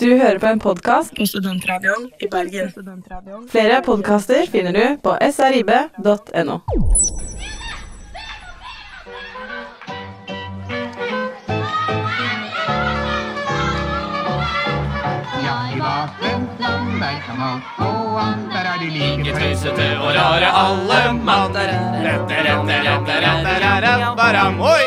Du hører på en podkast. på Studentradioen i Bergen. Flere podkaster finner du på srib.no. Ja, de var 15, der kan alt gå an, der er de like Ikke tøys. tøysete og rare alle mann. Baram, oi!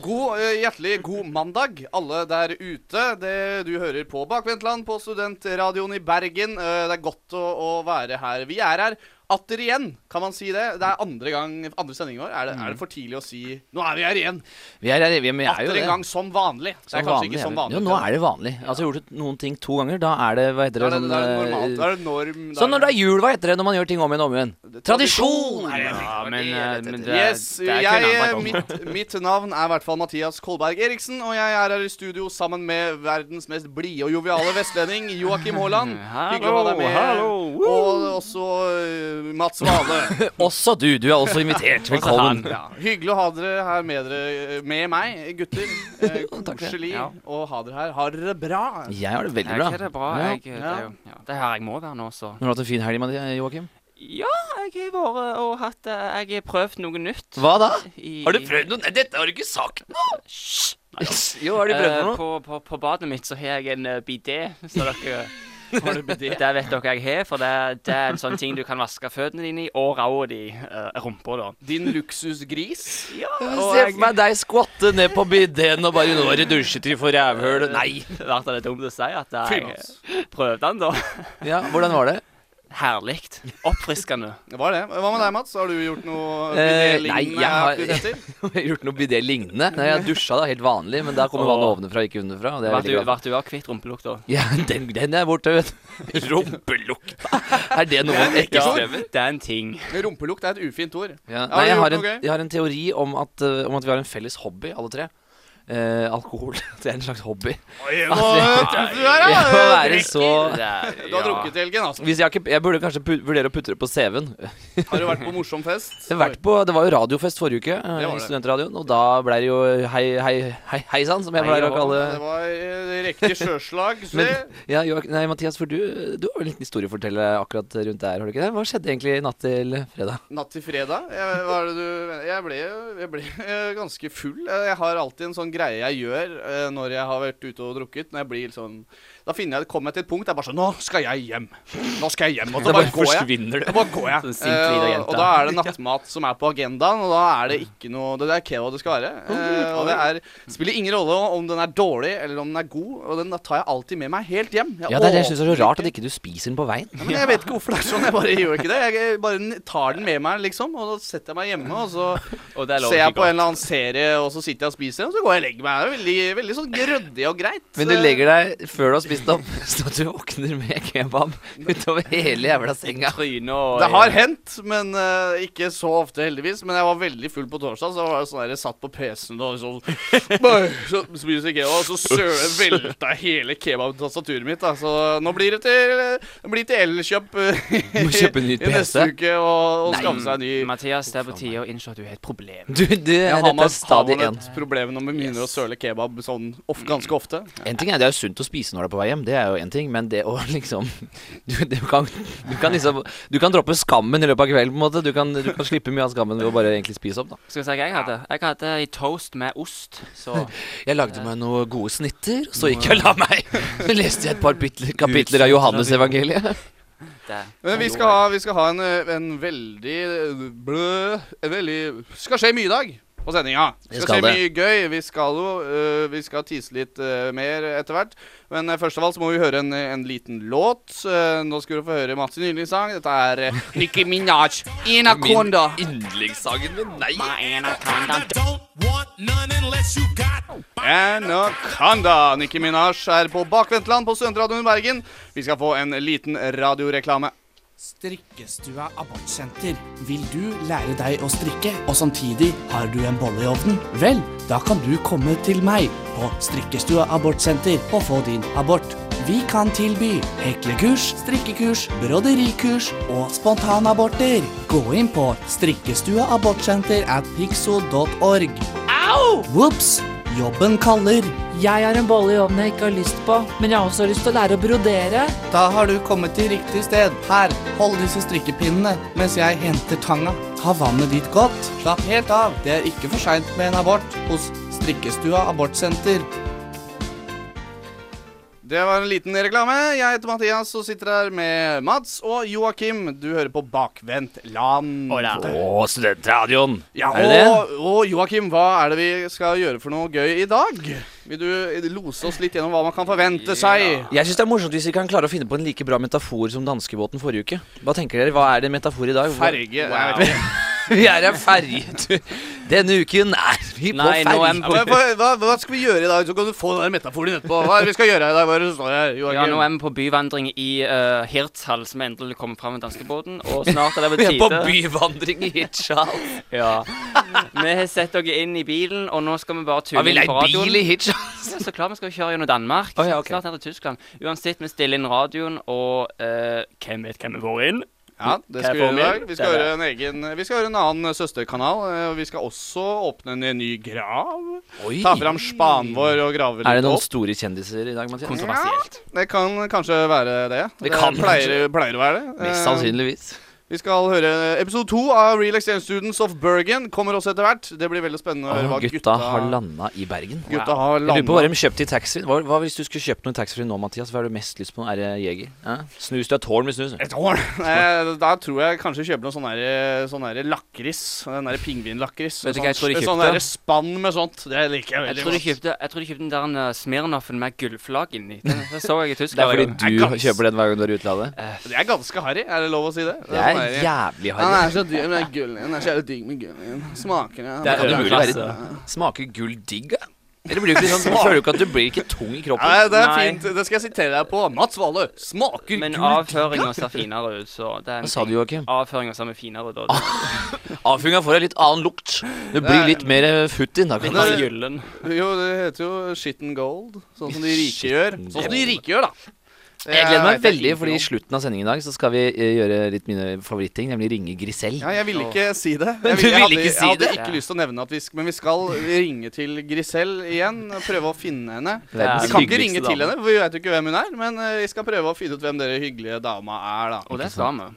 God, eh, hjertelig god mandag, alle der ute. Det du hører på Bakvendtland på Studentradioen i Bergen. Eh, Det er godt å, å være her. Vi er her atter igjen, kan man si det? Det er andre gang, andre sendingen vår. Er det, er det for tidlig å si Nå er vi her igjen! Vi er her, vi, men vi Mm. er jo Atter det. en gang som vanlig. Det er Som kanskje vanlig ikke er som vi- vanlig. Jo, nå er det vanlig. Altså, gjorde du noen ting to ganger, da er det Hva heter Da det? er det, da er det normalt. Da Sånn, eh, er det norm. da sånn når det er jul, hva heter det når man gjør ting om igjen og om igjen? Tradisjon! Tradisjon! Ja, men, eh, men det er- Yes, det er ikke jeg, en annen dag om. mitt, mitt navn er i hvert fall Mathias Kolberg Eriksen, og jeg er her i studio sammen med verdens mest blide og joviale vestlending, Joakim Haaland. Hyggelig å ha deg med. Og også eh, Mats Vale. Også du. Du er også invitert. Velkommen. Ja, hyggelig å ha dere her med dere, eh, med meg, gutter. Eh, Koselig Ja. å ha dere her. Har dere det bra? Jeg har det veldig Jeg bra. har det bra. Ja. Jeg, eh, det, er jo, ja, det er her jeg må være nå, så. Har du hatt en fin helg, Mathia- Joakim? Ja, jeg har vært og hatt eh, Jeg har prøvd noe nytt. Hva da? I, noe? Nei, dette har du ikke sagt Hysj! Jo, har du prøvd Eh, noe? på, på, på badet mitt så har jeg en eh, bidé, så dere Det vet dere jeg har, for det, det er en sånn ting du kan vaske føttene dine i, og ræva di. eh, rumpa, da. Din luksusgris. Ja, og Se jeg for meg deg skvatte ned på bideen og bare 'Nå er det dusjetid for rævhøl'. Nei! Det er det dumt å si at Fy, jeg ass. prøvde den, da. Ja, Hvordan var det? Herlig. Oppfriskende. Det var det. Hva med deg, Mats? Har du gjort noe Eh, nei, jeg lignende har- aktiviteter? Jeg har gjort noe bidé lignende. Nei, Jeg dusja da helt vanlig, men der kommer vannet ovenfra, ikke underfra. Og det er jeg Vart du, veldig glad for. vart du har kvitt rumpelukta? Ja, den, den er borte, vet du. Rumpelukta! Er det noe man ikke strever? Det er en ting. Rumpelukt er et ufint ord. Ja. Har Nei, du jeg har, gjort en, noe gøy? jeg har en teori om at, eh, om at vi har en felles hobby, alle tre. Eh, alkohol. Det er en slags hobby. Å, tøff du er, da! Jeg må være Drikker. så Du har drukket i helgen, altså. hvis jeg, har ikke, jeg burde kanskje pu vurdere å putte det på CV-en. Har du vært på morsom fest? Det, har vært på, det var jo radiofest forrige uke, eh, Det var i det. studentradioen, og da ble det jo hei, hei, hei, hei sann, som jeg Hei pleier å og hå. kalle Det var eh, riktig sjøslag. Se. Men- ja, Joak- Nei, Mathias, for du, du har vel en liten historie å fortelle akkurat rundt der, har du ikke det? Hva skjedde egentlig i natt til fredag? Natt til fredag. Jeg, hva er det du, jeg, ble, jeg ble eh, ganske full. Eh, Jeg har alltid en sånn greie jeg gjør eh, når jeg har vært ute og drukket. Når jeg blir sånn Da finner jeg, kommer jeg til et punkt der jeg bare sånn Nå skal jeg hjem! Nå skal jeg hjem! Og så bare går jeg. forsvinner Og bare går jeg. Sånn sint lita Eh, jente. og da er det nattmat som er på agendaen, og da er det ikke noe Det er keo det skal være. Eh, og det er, spiller ingen rolle om den er dårlig eller om den er god, og den tar jeg alltid med meg helt hjem. Jeg Ja, det er det jeg synes er så overtenker. rart at ikke du spiser den på veien. Ja, men jeg vet ikke hvorfor det er sånn. Jeg bare gjør ikke det. Jeg bare n- tar den med meg, liksom. Og da setter jeg meg hjemme, og så Og det ser jeg på en eller annen serie, og så sitter jeg og spiser, og så går jeg og legger meg. Det er veldig, veldig sånn ryddig og greit. Men du legger deg før du har spist opp, så du våkner med kebab utover hele jævla senga. trynet og Det har hendt, men eh, ikke så ofte, heldigvis. Men jeg var veldig full på torsdag, så var jeg sånn der, satt på PC-en og så, bare, så spiser kebab, og så søle velta hele kebabtastaturet mitt. Da. Så nå blir det til, det blir til elkjøp eh, Må kjøpe en ny i neste PC. uke og, og Nei. skaffe seg en ny. Mathias, det er på tide å innse at du har et problem. Du, det, Jeg har dette man, er stadig har man en. et problem når man begynner å søle kebab sånn of, ganske ofte? En ting er, Det er jo sunt å spise når du er på vei hjem, det er jo en ting, men det å liksom Du, du, kan, du kan liksom Du kan droppe skammen i løpet av kvelden, på en måte. Du kan, du kan slippe mye av skammen ved å bare egentlig spise opp, da. Skal vi si hva jeg hadde? Jeg hadde i toast med ost, så Jeg lagde meg noen gode snitter, så gikk jeg og la meg. Så leste jeg et par bitler, kapitler av Johannes-evangeliet. det Men vi skal ha, vi skal ha en, eh, en veldig eh, blø en veldig skal skje mye i dag på sendinga. Det Skal, skal skje mye gøy. Vi skal jo eh, Vi skal tise litt eh, mer etter hvert. Men eh, først av alt så må vi høre en, en liten låt. Eh, nå skal du få høre Mats' yndlingssang. Dette er eh, Nicki Minaj, 'Inaconda'. yndlingssangen min, nei! Anaconda. Nicki Minaj er på Bakvendtland på Studentradioen i Bergen. Vi skal få en liten radioreklame. Strikkestua abortsenter. Vil du lære deg å strikke, og samtidig har du en bolle i ovnen? Vel, da kan du komme til meg på Strikkestua abortsenter og få din abort. Vi kan tilby heklekurs, strikkekurs, broderikurs og spontanaborter. Gå inn på strikkestuaabortsenter at pixo.org. Au! Jobben kaller. Jeg har en bolle i ovnen jeg ikke har lyst på, men jeg har også lyst til å lære å brodere. Da har du kommet til riktig sted. Her, hold disse strikkepinnene mens jeg henter tanga. Ta vannet ditt godt. Slapp helt av. Det er ikke for seint med en abort hos Strikkestua abortsenter. Det var en liten reklame. Jeg heter Mathias og sitter her med Mats og Joakim. Du hører på Bakvendt land. Hola. Å, studentradioen! Ja, Er det det? og, og Joakim, hva er det vi skal gjøre for noe gøy i dag? Vil du lose oss litt gjennom hva man kan forvente seg? Jeg syns det er morsomt hvis vi kan klare å finne på en like bra metafor som danskebåten forrige uke. Hva tenker dere? Hva er det en metafor i dag? Ferge Jeg vet ikke. Vi er en ferjetur. Denne uken er vi på Nei, nå ferje. er vi Ja, men hva, hva, hva skal vi gjøre i dag? Så kan du få den der metaforen din etterpå. Hva er det vi skal gjøre i dag? Hva er det som står her, Ja, nå Joakim? er vi på byvandring i uh, Hirtshall, som endelig kommer fram med danskebåten. Og snart er det på Vi er på tide. byvandring i Hitchhal. Ja. Vi har sett dere inn i bilen, og nå skal vi bare tune Ah, Har vi inn leid på radioen. bil i Hitchhal? Ja, så klart vi skal jo kjøre gjennom Danmark. Å, ja, ok. Snart er det Tyskland. Uansett, vi stiller inn radioen, og eh, hvem vet hvem vi får inn? Ja, det skal vi gjøre i dag. Vi skal høre en egen Vi skal høre en annen søsterkanal. eh, Og vi skal også åpne en ny grav. Oi. Ta fram spanen vår og grave Er det litt noen opp. store kjendiser i dag, Mathias? Kontroversielt. Det kan kanskje være det. Det kan pleier, pleier å være det. Mest Eh, sannsynligvis. Vi skal høre episode to av Real Exchange Students of Bergen. Kommer også etter hvert. Det blir veldig spennende å høre hva Å, gutta har landa i Bergen. Gutta har Jeg lurer på hva landa. de kjøpte i taxfree. Hva, hva hvis du skulle kjøpt noe i taxfree nå, Mathias? Hva er du mest lyst på? Er det Jeger? Ja? Snus? Du er tårn med snus. du. Et år. Eh, Da tror jeg kanskje jeg kjøper noe sånn der, sånn der lakris. Den der pingvinlakris. Vet du hva jeg tror de Sånn kjøpte? der spann med sånt. Det liker jeg Jeg veldig tror, de kjøpte, jeg tror de kjøpte den der eh, Smirnoffen med gullflagg inni. Den, den så jeg i Det er Tyskland. en gang. fordi du kjøper den hver gang du er i utlandet? Det er ganske harry. Er det lov å si det? Det er jævlig Han harry. er så dyr med gullen. Han er så jævlig digg med gullen. Smaker det. Det kan er umulig overklasse. være Smaker gull digg, da? Eller blir du ikke sånn, føler du ikke at du blir ikke tung i kroppen? Nei, det er Nei. fint. Det skal jeg sitere deg på. Mats Vale smaker Men gull. avføringa ser finere ut, så det er Hva en sa du, Joakim? Avføringa ser finere ut. og det- Avfunga får en litt annen lukt. Det blir litt mer eh, futt inn. Da kan Litt man mer si. gyllen. Jo, det heter jo shit and gold. Sånn som de rike gjør. Shit and Sånn som de gold. rike gjør, da. Jeg gleder vet meg jeg veldig, ingenting fordi i om. slutten av sendingen i dag så skal vi eh, gjøre litt mine favorittting, nemlig ringe Grisell. Ja, jeg ville ikke si det. Men Jeg, du ville jeg, hadde, ikke si jeg hadde det? ikke lyst til å nevne at vi skal Men vi skal ringe til Grisel igjen. og Prøve å finne henne. Verdens Vi kan ikke hyggeligste ringe dame. til henne, for vi vet jo ikke hvem hun er. Men eh, vi skal prøve å finne ut hvem dere hyggelige dama er, da. Og det skal vi.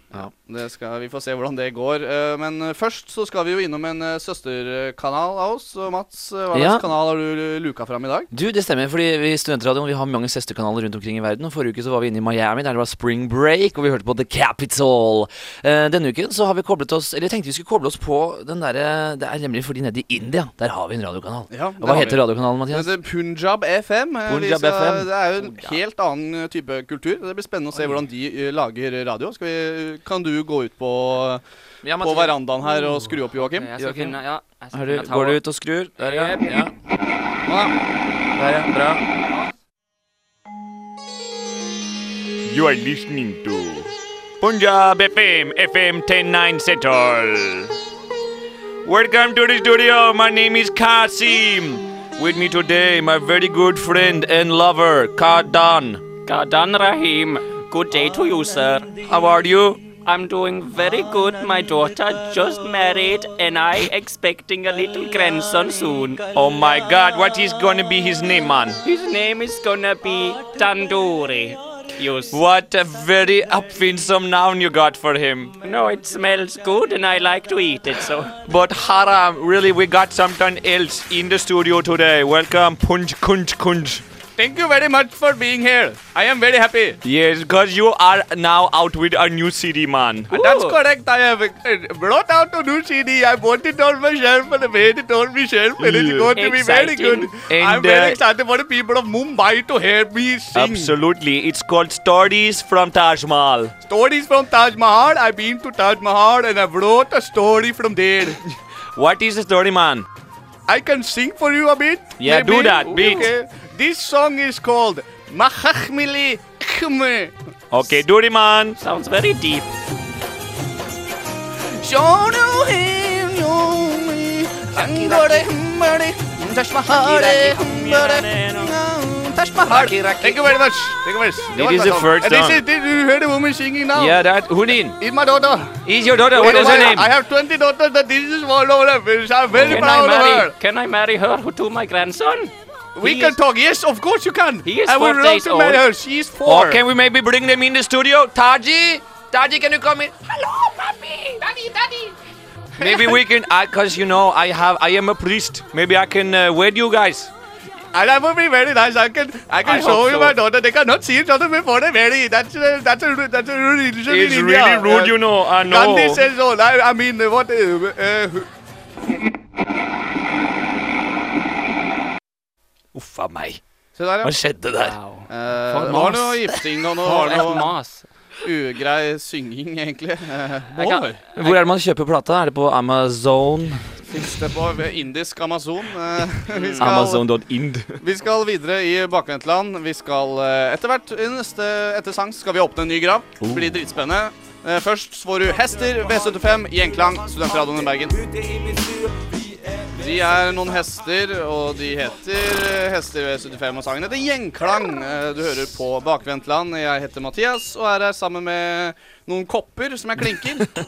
Det skal, vi får se hvordan det går. Eh, Men eh, først så skal vi jo innom en eh, søsterkanal av oss. Og Mats, eh, hva slags Ja. kanal har du luka fram i dag? Du, det stemmer, fordi vi i Studentradioen vi har mange søsterkanaler rundt omkring i verden. Og Forrige uke så var vi inne i Miami, der det var spring break, og vi hørte på The Capital. Eh, denne uken så har vi koblet oss Eller jeg tenkte vi skulle koble oss på den derre Det er nemlig fordi nede i India, der har vi en radiokanal. Ja, Og hva heter radiokanalen, Mathias? Det heter Punjab FM. eh, vi Punjab skal, FM. Det er jo en helt annen eh, type kultur. Det blir spennende å se hvordan de eh, lager radio. Skal vi, eh, kan du gå ut på, Ja, på Mathias. verandaen her og skru opp, Joakim? Jeg skal Joakim. finne Ja. jeg skal Har du, finne går du tauet. ut og skrur? Der, ja. ja. Ja. Der, ja. Bra. You are listening to Punjab FM, FM 109 Settle. Welcome to the studio. My name is Kasim. With me today, my very good friend and lover, Kardan. Gadan Rahim, good day to you, sir. How are you? I'm doing very good. My daughter just married, and I expecting a little grandson soon. Oh my god, what is gonna be his name, man? His name is gonna be Tandoori. Yes. What a very upwinsome noun you got for him. No, it smells good, and I like to eat it. So, But haram, really, we got something else in the studio today. Welcome, Punj Kunj Kunj. Thank you very much for being here. I am very happy. Yes, because you are now out with a new CD, man. That's correct. I have uh, brought out a new CD. I bought it on my shelf and I made it on my shelf and it's Yeah. going to be very good. Exciting. I'm And, very uh, excited for the people of Mumbai to hear me sing. Absolutely. It's called Stories from Taj Mahal. Stories from Taj Mahal. I've been to Taj Mahal and I wrote a story from there. What is the story, man? I can sing for you a bit. Yeah, do that, beat. This song is called Mahachmili Khme. Okay, do it, man. sounds very deep. Shono him yomi. Angore humbare. Tashmahare humbare. Tashmahare. Thank you very much. Thank you very much. It is the first And this song. is, this, you heard the woman singing now? Yeah, that. Hunin. It's my daughter. Is your daughter? What is her I, name? I have 20 daughters that this is all over. I'm very Can I proud of her. marry? Can I marry her to my grandson? We He can is- talk. Yes, of course you can. He is I four would love days to marry old. her. She is four. Or can we maybe bring them in the studio? Taji? Taji, can you come in? Hello, papi! Daddy, daddy! Maybe we can, because you know, I have, I am a priest. Maybe I can uh, wed you guys. And that would be very nice. I can I can I show hope you so. my daughter. They cannot see each other before they marry. That's a, that's a ru- that's a rule in religion It's in really India. rude, Uh, you know. I know. Gandhi says all. I, I mean, uh, what? Uh, uh, Uff a meg. så der, ja. Hva skjedde der? Wow. Eh, For det var mas. noe gifting og noe, For det et var noe mas. ugrei synging, egentlig. Eh, Jeg kan, Hvor er det man kjøper plata? Er det på Amazon? Fins det på indisk Amazon? Eh, vi skal- Amazon.ind. Vi skal videre i bakvendtland. Vi skal eh, etter hvert i neste etter sang skal vi åpne en ny grav. Det blir Oh. dritspennende. Eh, Først får du Hester, V75, Gjenklang, Studentradioen i Bergen. De er noen hester, og de heter eh, Hester V75, og sangen heter Gjenklang. Eh, Du hører på Bakvendtland. Jeg heter Mathias og er her sammen med noen kopper som jeg klinker.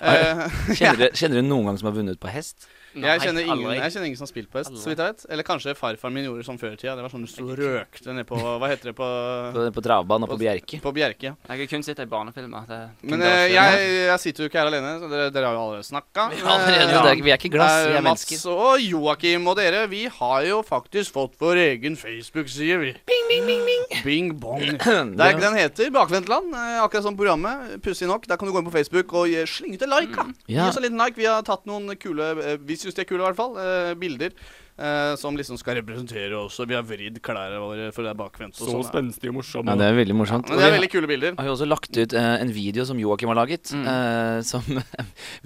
Eh, Kjenner dere- kjenner dere noen gang som har vunnet på hest? jeg kjenner, ingen, aldri. jeg kjenner ingen som har spilt på hest, så vidt jeg vet. Eller kanskje farfar min gjorde sånn før i tida. Det var sånn du sto og røkte ned på Hva heter det på På, på travbanen og på Bjerke? På Bjerke. ja. jeg har kun sett det i barnefilmer. Det er Men kun eh, det å jeg, se. jeg sitter jo ikke her alene, så dere, dere har jo allerede snakka. Allerede, det er, ikke- vi er ikke glass, vi er Mats mennesker. og Joakim og dere, vi har jo faktisk fått vår egen Facebook-side, vi. Bing, bing, bing, bing. Bing, bong. Det er ikke den heter, Bakvendtland. eh, Akkurat som programmet. Pussig nok. Der kan du gå inn på Facebook og gi- slenge ut en like. da. Gi Ja. oss en liten like. Vi har tatt noen kule eh, Vi syns de er kule, i hvert fall. eh, Bilder. eh, som liksom skal representere oss, og vi har vridd klærne våre for det er bakvendt. og sånn, da. Ja, det er veldig morsomt. Men det er veldig kule bilder. Mm. har jo også lagt ut eh, en video som Joakim har laget. eh, som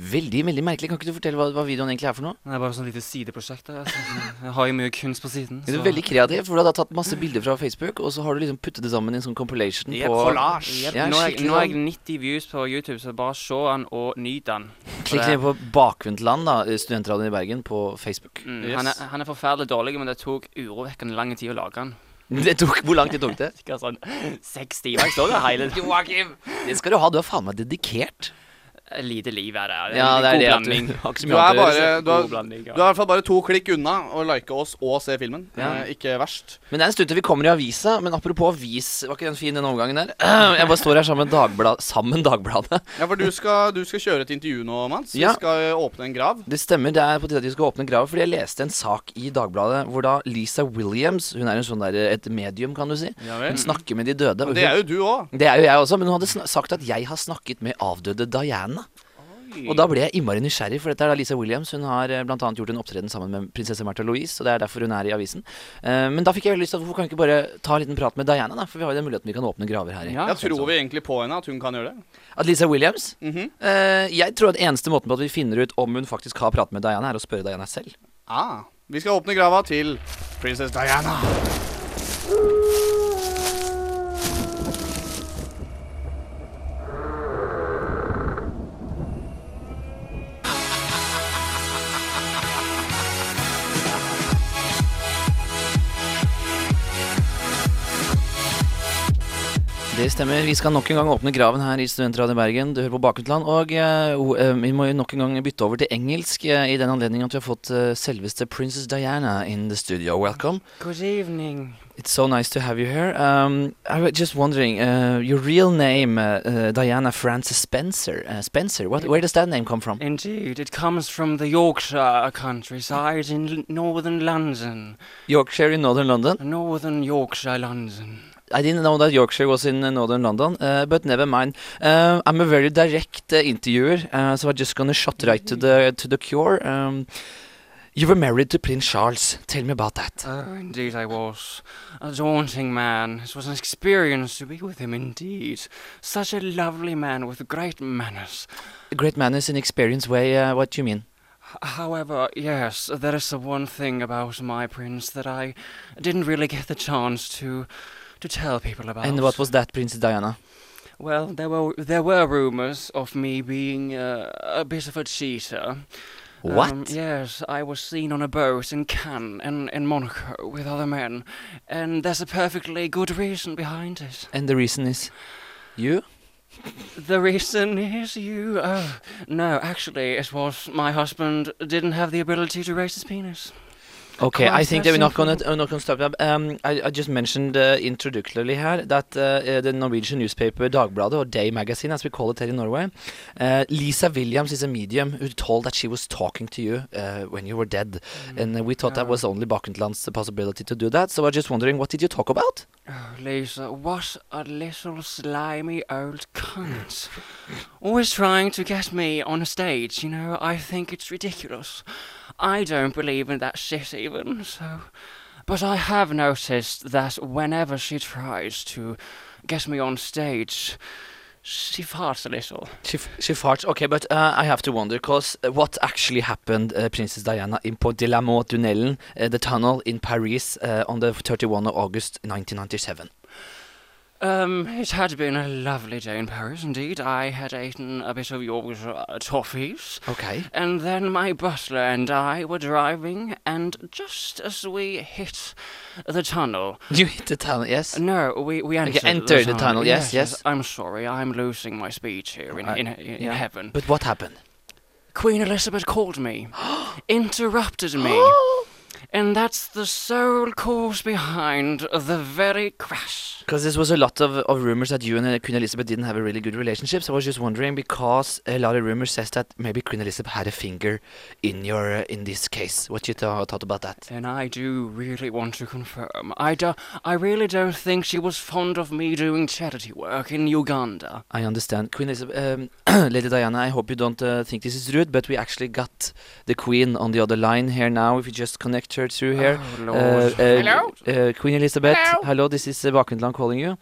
Veldig veldig merkelig. Kan ikke du fortelle hva, hva videoen egentlig er for noe? Det er bare sånn lite sideprosjekt. der, Altså. Jeg har jo mye kunst på siden. Det er veldig kreativt, for du har da tatt masse bilder fra Facebook, og så har du liksom puttet det sammen i en sånn compilation Yep. på Jep, Ja, nå, er jeg, skikkelig nå er jeg sånn. 90 views på YouTube, så bare se den og nyt den. Klikk ned på Bakvendtland, da, studentradioen i Bergen, på Facebook. Mm, Yes. han, er, han er forferdelig dårlig, men det tok urovekkende lang tid å lage den. Det tok, hvor lang tid tok det? Sikkert sånn seks timer. Jeg står der hele Joakim! Det skal du ha, du er faen meg dedikert. Lite liv er det. Ja, det er det at du God blanding. har ikke Du så mye er annet å gjøre. bare Eh, du God er, blanding. ja. Du er i hvert fall bare to klikk unna å like oss og se filmen. Ja. Eh, ikke verst. Men det er en stund til vi kommer i avisa. Men apropos avis, var ikke den fin den overgangen der? Jeg bare står her sammen med Dagblad, sammen Dagbladet. Ja, for du skal, du skal kjøre et intervju nå, Mans. Ja. Vi skal eh, åpne en grav. Det stemmer, det er på tide at vi skal åpne graven, fordi jeg leste en sak i Dagbladet hvor da Lisa Williams, hun er en sånn der, et medium, kan du si, hun snakker med de døde. og Det hun- er jo du òg. det er jo jeg også, men hun hadde sna- sagt at jeg har snakket med avdøde Diana. Og da ble jeg innmari nysgjerrig, for dette er da Lisa Williams. Hun har eh, blant annet gjort en opptreden sammen med prinsesse Märtha Louise, og det er derfor hun er i avisen. Eh, Men da fikk jeg veldig lyst til at hvorfor kan vi ikke bare ta en liten prat med Diana, da? For vi har jo den muligheten vi kan åpne graver her i. Ja. Jeg tror vi egentlig på henne at hun kan gjøre det. At Lisa Williams? Mhm. Eh, jeg tror at eneste måten på at vi finner ut om hun faktisk har pratet med Diana, er å spørre Diana selv. Ah. Vi skal åpne grava til prinsesse Diana. Det stemmer. Vi skal nok en gang åpne graven her i Studentradio Bergen. Du hører på Bakutland. Og eh, o- eh, vi må jo nok en gang bytte over til engelsk eh, i den anledning at vi har fått eh, selveste Princess Diana in the studio. Welcome. Good evening. It's so nice to have you here. Um, I was just wondering, uh, your real name, uh, uh, Diana Frances Spencer. Uh, Spencer, what, where does that name come from? Indeed, it comes from the Yorkshire countryside in l- northern London. Yorkshire in northern London. Northern Yorkshire, London. I didn't know that Yorkshire was in uh, northern London, uh, but never mind. Uh, I'm a very direct uh, interviewer, uh, so I'm just gonna shot right to the to the cure. Um, you were married to Prince Charles. Tell me about that. Oh, indeed I was. A daunting man. It was an experience to be with him, indeed. Such a lovely man with great manners. Great manners in experience way. Uh, what do you mean? H- However, yes, there is the one thing about my prince that I didn't really get the chance to to tell people about. And what was that, Princess Diana? Well, there were there were rumors of me being uh, a bit of a cheater. What? Um, yes, I was seen on a boat in Cannes and in Monaco with other men, and there's a perfectly good reason behind it. And the reason is you. The reason is you. Oh, no, actually, it was my husband didn't have the ability to raise his penis. Okay, I think that we're not Question gonna uh, not gonna stop. that. Um, I, I just mentioned uh, introductorily here that uh, uh, the Norwegian newspaper Dagbladet or Day Magazine, as we call it here in Norway, uh, Lisa Williams is a medium who told that she was talking to you uh, when you were dead, and uh, we thought that was only Bakkentland's possibility to do that. So I'm just wondering, what did you talk about? Oh, Lisa was a little slimy old cunt. Always trying to get me on a stage, you know, I think it's ridiculous. I don't believe in that shit even, so. But I have noticed that whenever she tries to get me on stage, she farts a little. She, f- she farts. Okay, but uh, I have to wonder, because what actually happened, uh, Princess Diana, in Port de la Tunnelen, uh, the tunnel in Paris, uh, on the 31 of August 1997? Um, it had been a lovely day in Paris indeed. I had eaten a bit of your uh, toffees. Okay. And then my butler and I were driving, and just as we hit the tunnel, You hit the tunnel, yes? no, we we entered, entered the tunnel, yes, yes. I'm sorry, I'm losing my speech here in in, in Yeah. heaven. But what happened? Queen Elizabeth called me, interrupted me, and that's the sole cause behind the very crash. Because this was a lot of, of rumors that you and uh, Queen Elizabeth didn't have a really good relationship. So I was just wondering because a lot of rumors says that maybe Queen Elizabeth had a finger in your uh, in this case. What you tho- thought about that? And I do really want to confirm. I do, I really don't think she was fond of me doing charity work in Uganda. I understand, Queen Elizabeth, um, Lady Diana. I hope you don't uh, think this is rude, but we actually got the Queen on the other line here now. If you just connect her through here, Oh, Uh, Lord. uh, Hello? uh, Queen Elizabeth. Hello, this is uh, Bakundland calling you.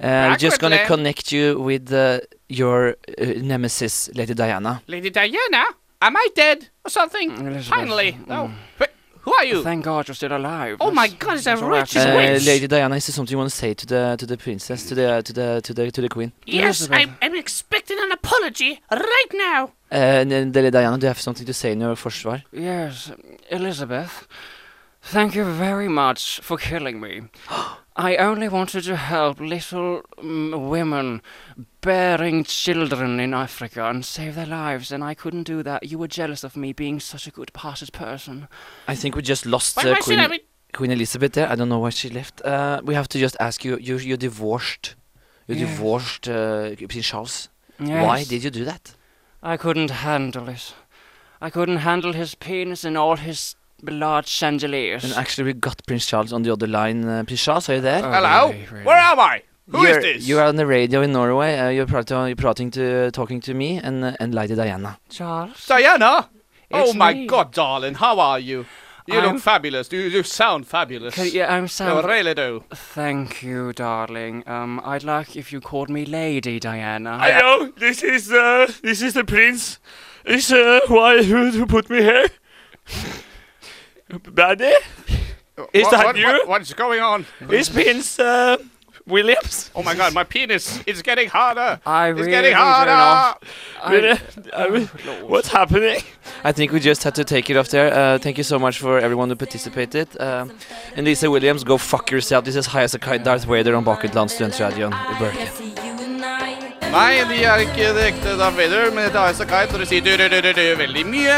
Uh, we're just gonna connect you with uh, your uh, nemesis, Lady Diana. Lady Diana, am I dead or something? Elizabeth, Finally. No. mm. Wait, who are you? Thank God you're still alive. Oh my That's- God, it's a that's all I have rich to She's Uh, say. witch. Lady Diana, is there something you want to say to the to the princess, to the to the to the to the queen? yes, Elizabeth. I'm, I'm expecting an apology right now. Uh, n- Lady Diana, do you have something to say in your forsvar? Yes, Elizabeth. Thank you very much for killing me. I only wanted to help little mm, women bearing children in Africa and save their lives, and I couldn't do that. You were jealous of me being such a good-hearted person. I think we just lost Why uh, am I Queen still having... Queen Elizabeth there. I don't know why she left. Uh, we have to just ask you. You you divorced. You Yeah. divorced uh, Prince Charles. Yes, Why did you do that? I couldn't handle it. I couldn't handle his penis and all his large chandeliers. And actually, we got Prince Charles on the other line. Uh, Prince Charles, are you there? Oh, Hello? really, really. Where am I? Who is you're, this? You are on the radio in Norway. Uh, you're, prating, you're prating to, talking to me and uh, and Lady Diana. Charles? Diana? oh It's my me. god, darling, how are you? You I'm- look fabulous. You, you sound fabulous. Can- yeah, I'm You Sam. really do. Thank you, darling. Um, I'd like if you called me Lady Diana. Hello, this is uh, this is the prince. Is uh, why who, who put me here? Daddy, Is What- that what- you? what- what's going on? is prince uh, Williams? Oh my god, my penis is getting harder. I It's really getting do not- harder. I, I mean, what's happening? I think we just had to take it off there. Uh, thank you so much for everyone who participated. Um, and Lisa Williams, go fuck yourself. This is high as a kite Darth Vader on Bakutland Studentradioen i Bergen. Nei, de er ikke det ekte Darth Vader, men dette er Ice Kite, og de sier du-du-du-du veldig mye.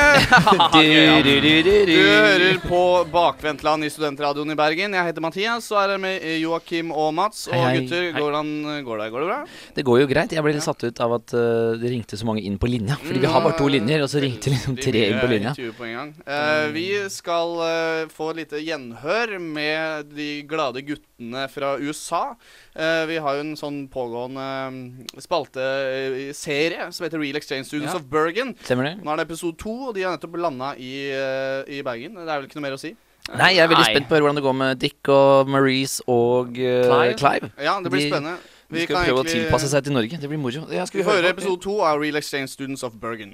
Du hører på Bakvendtland i Studentradioen i Bergen. Jeg heter Mathias, så er jeg med Joakim og Mats. Og Hei, hei. gutter, går det, går det, går det bra? Det går jo greit. Jeg ble litt satt ut av at eh, det ringte så mange inn på linja. Fordi vi har bare to Mm. linjer, og så ringte liksom tre inn på linja. 20 på en gang. Eh, vi skal eh, få lite gjenhør med de glade guttene fra USA. Eh, vi har jo en sånn pågående eh, spalteserie som heter Real Exchange Students Ja. of Bergen. Stemmer det? Nå er det episode to, og de har nettopp landa i, eh, i Bergen. Det er vel ikke noe mer å si? Nei, jeg er veldig Nei. spent på hvordan det går med Dick og Maurice og eh, Clive? Clive. Ja, det blir De- spennende. De skal prøve å tilpasse seg til Norge. Det blir moro. Ja, skal Vi vi høre hører på- episode to av Real Exchange Students of Bergen.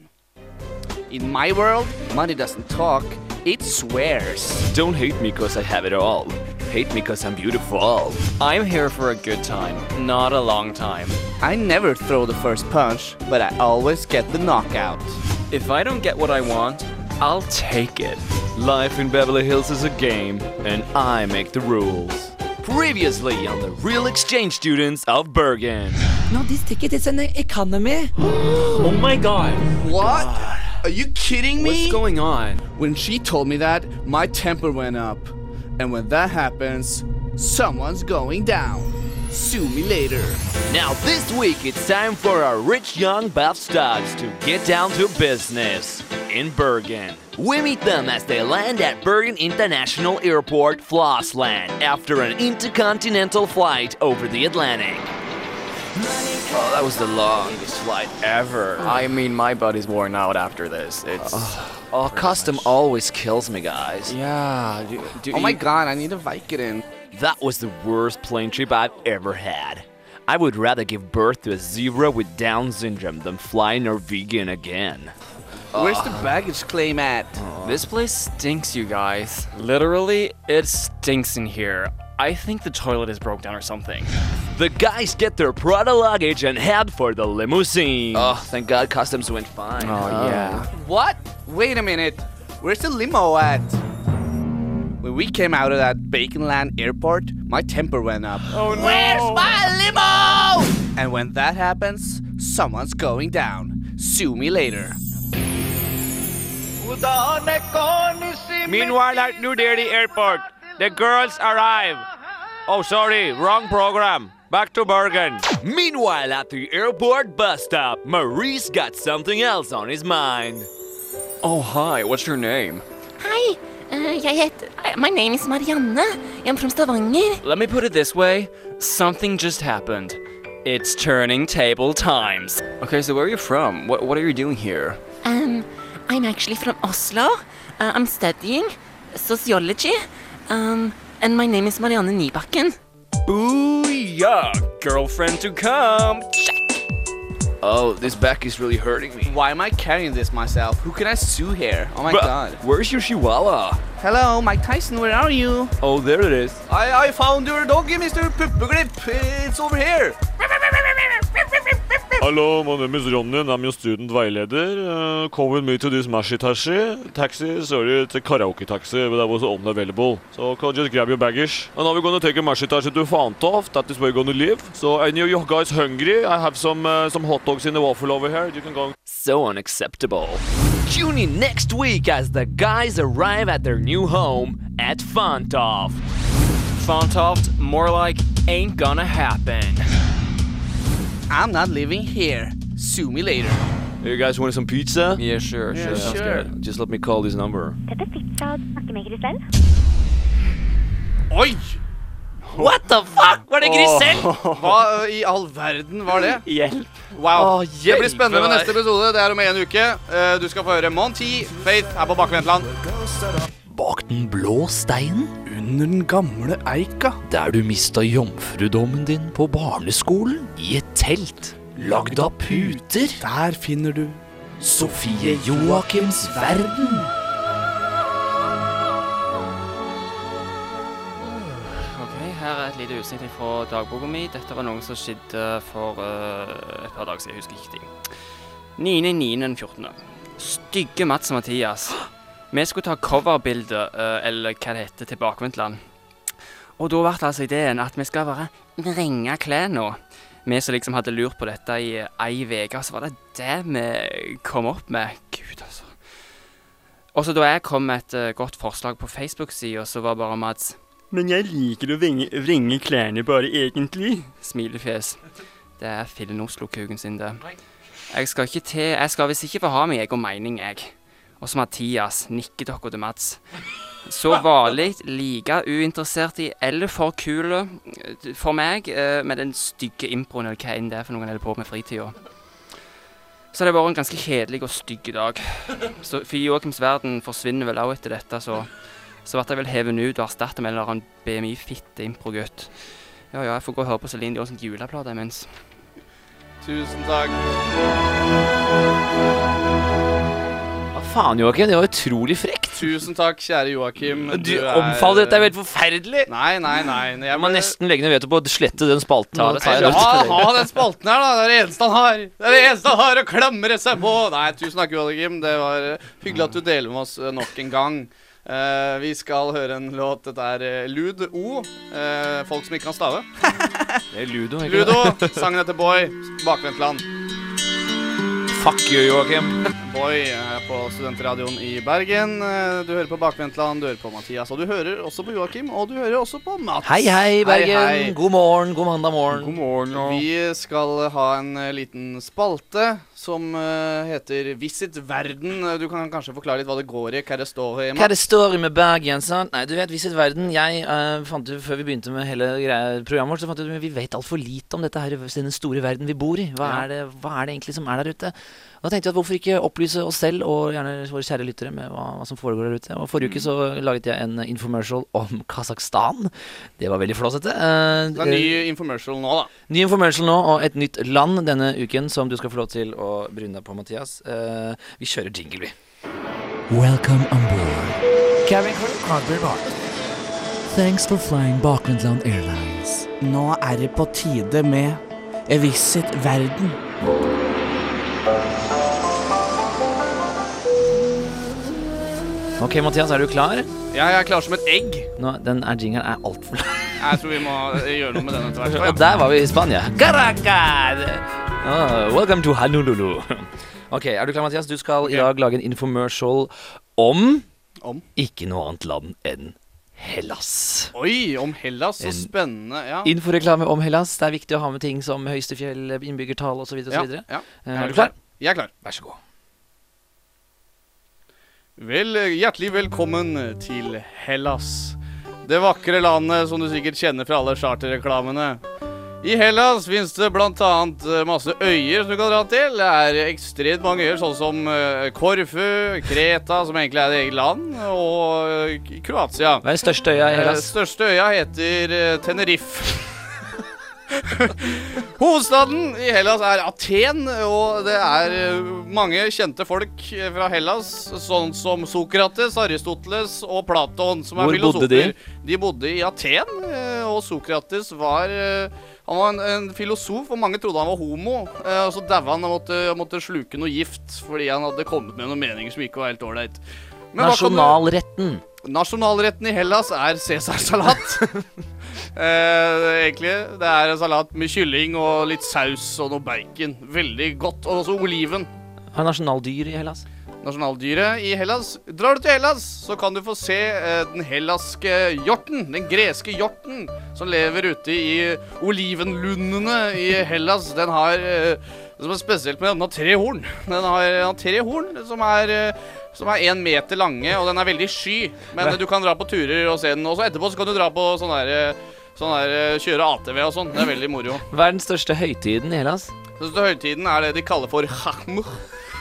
In my world, money doesn't talk, it swears. Don't hate me cause I have it all. Hate me cause I'm beautiful. I'm here for a good time, not a long time. I never throw the first punch, but I always get the knockout. If I don't get what I want, I'll take it. Life in Beverly Hills is a game, and I make the rules. Previously on the Real Exchange Students of Bergen. No, this ticket is an economy. Oh my god. What? Are you kidding me? What's going on? When she told me that, my temper went up. And when that happens, someone's going down. Sue me later. Now, this week it's time for our rich young buff stars to get down to business in Bergen. We meet them as they land at Bergen International Airport, Flossland, after an intercontinental flight over the Atlantic. Oh, that was the longest flight ever. I mean, my body's worn out after this. It's. Oh, custom always kills me, guys. yeah. Do, do Oh my you- god, I need a Vicodin. That was the worst plane trip I've ever had. I would rather give birth to a zebra with Down syndrome than fly Norwegian again. Where's the baggage claim at? This place stinks, you guys. Literally, it stinks in here. I think the toilet is broke down or something. The guys get their Prada luggage and head for the limousine. Oh, thank God customs went fine. Oh, yeah. What? Wait a minute. Where's the limo at? When we came out of that Baconland airport, my temper went up. Oh no. Where's My Oh! limo! And when that happens, someone's going down. Sue me later. Meanwhile, at New Delhi airport, the girls arrive. Oh, sorry, wrong program. Back to Bergen. Meanwhile, at the airport bus stop, Maurice got something else on his mind. Oh, hi, what's your name? Hei, eh, jeg heter eh, My name is Marianne. Jeg er fra Stavanger. Let me put it this way something just happened. It's turning table times. Okay, so where are you from? What, what are you doing here? Um, I'm actually from Oslo. Eh, I'm studying sociology. Um, and my name is Marianne Nybakken. Booyah! Girlfriend to come! Oh, this back is really hurting me. Why am I carrying this myself? Who can I sue here? Oh my god. Where's your chihuahua? Hello, Mike Tyson, where are you? Oh, there it is. I, I found your doggy, Mr. Puppegrip. It's over here. Hello, my name is Ronin. I'm your student violator. Uh, come with me to this mashy tashi. Taxi, sorry, it's a karaoke taxi, but that was unavailable. So can just grab your baggage. And now we're gonna take a mashy tashi to Fantoft. That is where we're gonna live. So any of you guys hungry? I have some uh, some hot dogs in the waffle over here. You can go. So unacceptable. Tune in next week as the guys arrive at their new home at Fantoff. Fontoft, more like ain't gonna happen. I'm not living here. Sue me later. You guys want some pizza? Yeah, sure, sure. sounds sure. good. Just let me call this number. Dette fiksa snakkemaker selv. Oi! What the fuck? Var det Grisel? Hva ø, i all verden var det? Hjelp. Wow. Å, det blir spennende med hjelpe meg. neste episode. Det er om en uke. Eh, Du skal få høre Monty Faith her på Bakvendtland. Bak den blå steinen, Under den gamle eika. der du mista jomfrudommen din på barneskolen, i et telt lagd av puter. Der finner du Sofie Joakims verden. Ok, her er et lite utsnitt fra dagboka mi. Dette var noe som skjedde for eh, et par dager siden. Jeg husker ikke tid. 9.9.14. Stygge Mats og Mathias. Vi skulle ta coverbilde, eh, eller hva det heter, til Bakvendtland. Og da ble altså ideen at vi skal bare vrenge klærne. Vi som liksom hadde lurt på dette i ei uke, så var det det vi kom opp med. Gud, altså. Også da jeg kom med et eh, godt forslag på Facebook-sida, så var bare Mats men jeg liker å vringe, vringe klærne bare egentlig. Smilefjes. Det er Fillen Oslo-kuken sin, det. Jeg skal ikke til Jeg skal visst ikke få ha min egen mening, jeg. Og så Mathias. Nikker dere til Mats. Så vanlig, like uinteressert i eller for kul eh, for meg eh, med den stygge improen eller hva enn det er for noen holder på med fritida. Så det har vært en ganske kjedelig og stygg dag. Så for Joakims verden forsvinner vel òg etter dette, så så ble jeg vel hevet ut og erstattet med en eller annen BMI-fitte improgutt. Ja ja, jeg får gå og høre på Celine Dionsens juleplate imens. Tusen takk. Hva faen, Joakim? Det var utrolig frekt. Tusen takk, kjære Joakim. Du omfavner dette, det er helt forferdelig. Nei, nei, nei. Jeg Jeg må nesten legge ned veto på å slette den spalten. Nå og ta en tar jeg ut. Ja, ha den spalten her, da. Det er det eneste han har. Det er det eneste han har å klamre seg på. Nei, tusen takk, Joakim. Det var eh, hyggelig at du deler med oss eh, nok en gang. Eh, vi skal høre en låt. Dette er eh, Lud O. eh, folk som ikke kan stave. Det er Ludo. ikke Ludo, sangen heter Boy. Bakvendtland. Fuck you, Joakim. Boy her på Studentradioen i Bergen. Eh, Du hører på Bakvendtland, du hører på Mathias, og du hører også på Joakim, og du hører også på Mats. Hei, hei, Bergen. God morgen, god mandag morgen. God morgen, Vi skal ha en eh, liten spalte som eh, heter Visit verden. Eh, Du kan kanskje forklare litt hva det går i? Hva det står i? Mats? Hva er det står i med Bergen, sant? Nei, du vet, Visit Verden Jeg eh, fant jo, før vi begynte med hele greia, programmet vårt, så fant jeg ut at vi vet altfor lite om dette her, denne store verden vi bor i. Hva, Ja. er det, hva er det egentlig som er der ute? Og da tenkte jeg at hvorfor ikke opplyse oss selv og gjerne våre kjære lyttere med hva, hva som foregår der ute. Og Mm. forrige uke så laget jeg en infomercial om Kasakhstan. Det var veldig flåsete. Eh, Det er en ny infomercial nå, da. Ny information nå, og et nytt land denne uken som du skal få lov til å bryne deg på, Mathias. Eh, vi kjører jingle, vi. Welcome on board. Thanks for flying Bakvendtland Airlines. Nå er det på tide med A Visit Verden. Ok, Mathias, er du klar? Ja, jeg er klar som et egg. Nå, den er jinglen er altfor lang. Jeg tror vi må eh, gjøre noe med den etter hvert. Og der var vi i Spania. Caracas! Ah, welcome to Honolulu. Ok, er du klar, Mathias? Du skal i dag lage en infomercial om, Om? ikke noe annet land enn Hellas. Oi, om Hellas, så En spennende. Ja. Inforeklame om Hellas. Det er viktig å ha med ting som høyeste fjell, innbyggertall osv. Ja, videre. ja. Eh, Jeg Er du klar? Jeg er klar. Vær så god. Vel, eh, hjertelig velkommen til Hellas. Det vakre landet som du sikkert kjenner fra alle charterreklamene. I Hellas fins det bl.a. masse øyer som du kan dra til. Det er ekstremt mange øyer, sånn som eh, Korfu, Kreta, som egentlig er et eget land, og eh, K- Kroatia. Hva er den største øya i Hellas? Eh, Største øya heter eh, Tenerife. Hovedstaden i Hellas er Aten, og det er eh, mange kjente folk eh, fra Hellas, sånn som Sokrates, Aristoteles og Platon, som er Hvor bodde filosofer. de? De bodde i Aten, eh, og Sokrates var eh, Han var en, en filosof, og mange trodde han var homo. eh, Og så daua han og måtte, måtte sluke noe gift fordi han hadde kommet med noen meninger som ikke var helt ålreit. Men hva kan du- Nasjonalretten. Nasjonalretten i Hellas er cæsarsalat. eh, egentlig. Det er en salat med kylling og litt saus og noe bacon. Veldig godt. Og også oliven. Har nasjonaldyr i Hellas? Nasjonaldyret i Hellas. Drar du til Hellas, så kan du få se eh, den hellaske hjorten. Den greske hjorten som lever ute i olivenlundene i Hellas. Den har eh, Det som er spesielt med den, den har tre horn. Den har, den har tre horn som er eh, som er én meter lange, og den er veldig sky. Men eh, du kan dra på turer og se den. Og så etterpå så kan du dra på sånn der, eh, sånn der eh, kjøre ATV og sånn. Det er veldig moro. Hva er den største høytiden i Hellas? Så til høytiden er det de kaller for Hachmuch.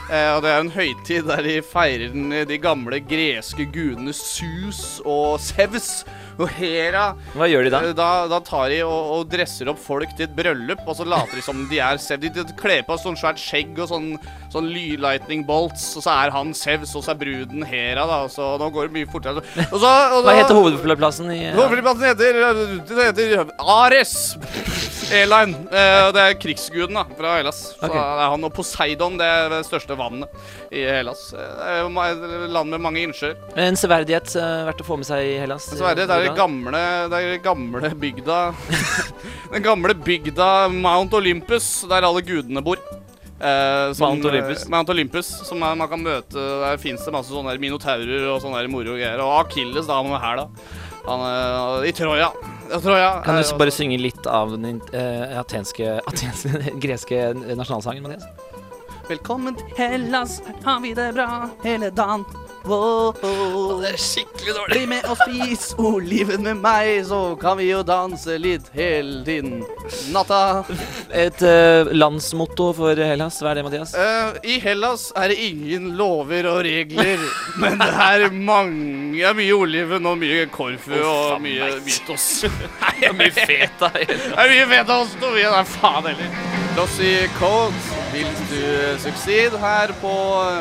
Eh, og det er en høytid der de feirer den, eh, de gamle greske gudene Sus og Sevs og Hera. Hva gjør de da? Eh, Da, da tar de og, og dresser opp folk til et bryllup, og så later de som de er Sevs. De, de kler på sånn svært skjegg og sånn, sånn ly- lightning bolts, og så er han Sevs, og så er bruden Hera, da. Så nå går det mye fortere. Og så, og Hva så- heter hovedplassen i Hovedflyplassen heter, det heter Ares Airline. Eh, Det er krigsguden da, fra Hellas. Så Ok. er han og Poseidon, det er det største vannet i Hellas. Eh, Det er jo ma- et land med mange innsjøer. En severdighet eh, verdt å få med seg i Hellas? Dessverre, det er det gamle, det er det gamle bygda Den gamle bygda Mount Olympus, der alle gudene bor. Eh, Mount Olympus. Mount Olympus, som er, man kan møte Der fins det masse sånne der minotaurer og sånne der moro greier. Og Akilles, da, han er her, da. Han er eh, i Troja. Ja, Troja Kan er du også- s- bare synge litt av den eh, atenske, atenske greske nasjonalsangen, Mathias? Velkommen til Hellas, her har vi det bra hele dagen. Wow. er skikkelig dårlig. Bli med og spis oliven med meg, så kan vi jo danse litt hele tiden. Natta. Et eh, landsmotto for Hellas, hva er det, Mathias? Eh, I Hellas er det ingen lover og regler, men det er mange det er mye oliven og mye korfu og mye mytos. Det er mye feta. Det er mye feta ost og mye Nei, faen heller. Lossy Codes, vil du succeed her på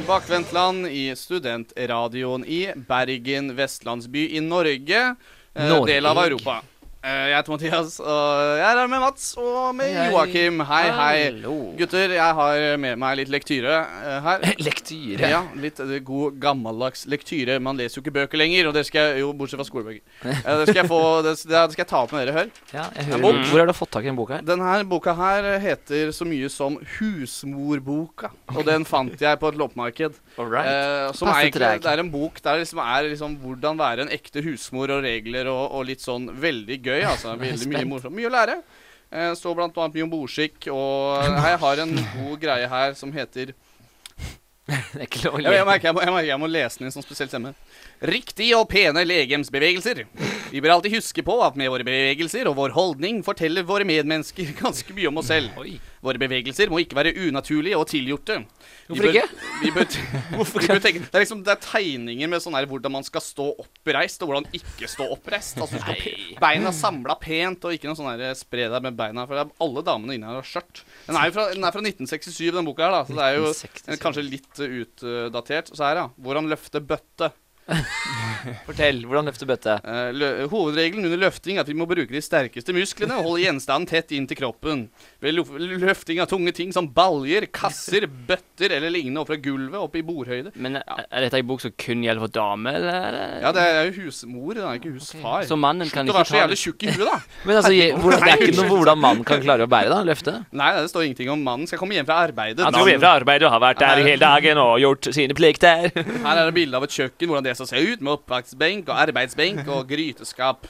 Bakvendtland i studentradioen i Bergen, vestlandsby i Norge, eh, Norge. del av Europa. Eh, Jeg heter Mathias, og jeg er her med Mats og med Hei, hei. Joakim. Hei, hei. Hallo. Gutter, jeg har med meg litt lektyre eh, her. Lektyre? Ja, litt eh, god gammeldags lektyre. Man leser jo ikke bøker lenger, og det skal jeg, jo, bortsett fra skolebøker. Eh, Det skal jeg, få, det, det skal jeg ta opp med dere her. Ja, jeg En hører, bok. hvor har du fått tak i den boka her? Den her boka her heter så mye som Husmorboka, og den fant jeg på et loppemarked. Eh, som er Passer egentlig, til deg. det er en bok der liksom er liksom hvordan være en ekte husmor og regler og, og litt sånn veldig gøy. Altså, Jeg er veldig mye spent. morsomt. Mye å lære. Eh, står blant annet mye om bordskikk, og jeg har en god greie her som heter Det er ikke lov å jeg, jeg, le. merker, jeg, må, jeg merker jeg må lese den i en sånn spesiell stemme. Riktig og pene legemsbevegelser. Vi bør alltid huske på at med våre bevegelser og vår holdning forteller våre medmennesker ganske mye om oss selv. Våre bevegelser må ikke være unaturlige og tilgjorte. Vi Hvorfor bør- ikke? Vi bør, t- vi bør tenke, det, er liksom, det er tegninger med sånn her hvordan man skal stå oppreist, og hvordan ikke stå oppreist. Altså, du skal pe beina samla pent, og ikke noe sånn her spre deg med beina. For det er alle damene inni her har skjørt. Den er jo fra, den er fra 1967, den boka her, da, så det er jo 1967. den er kanskje litt uh, utdatert. Så her, ja. Hvordan løfte bøtte. Fortell, hvordan løfte bøtte? Eh, lø hovedregelen under løfting er at vi må bruke de sterkeste musklene og holde gjenstanden tett inn til kroppen. Ved lo- løfting av tunge ting som baljer, kasser, bøtter eller lignende opp fra gulvet opp i bordhøyde Men er er dette en bok som kun gjelder for damer, eller? Ja, det er jo husmor, det er ikke husfar. Så mannen kan Slutt å være ikke så ta jævlig det. tjukk i huet, da. Men altså, je- hvordan, Det er ikke noe Herregud. hvordan mannen kan klare å bære, da? Løfte? Nei, det står ingenting om mannen skal komme hjem fra arbeidet. Han skal hjem fra arbeidet og har vært der hele dagen og gjort sine plikter. Her er det bilde av et kjøkken, hvordan det skal se ut, med oppvaskbenk og arbeidsbenk og gryteskap.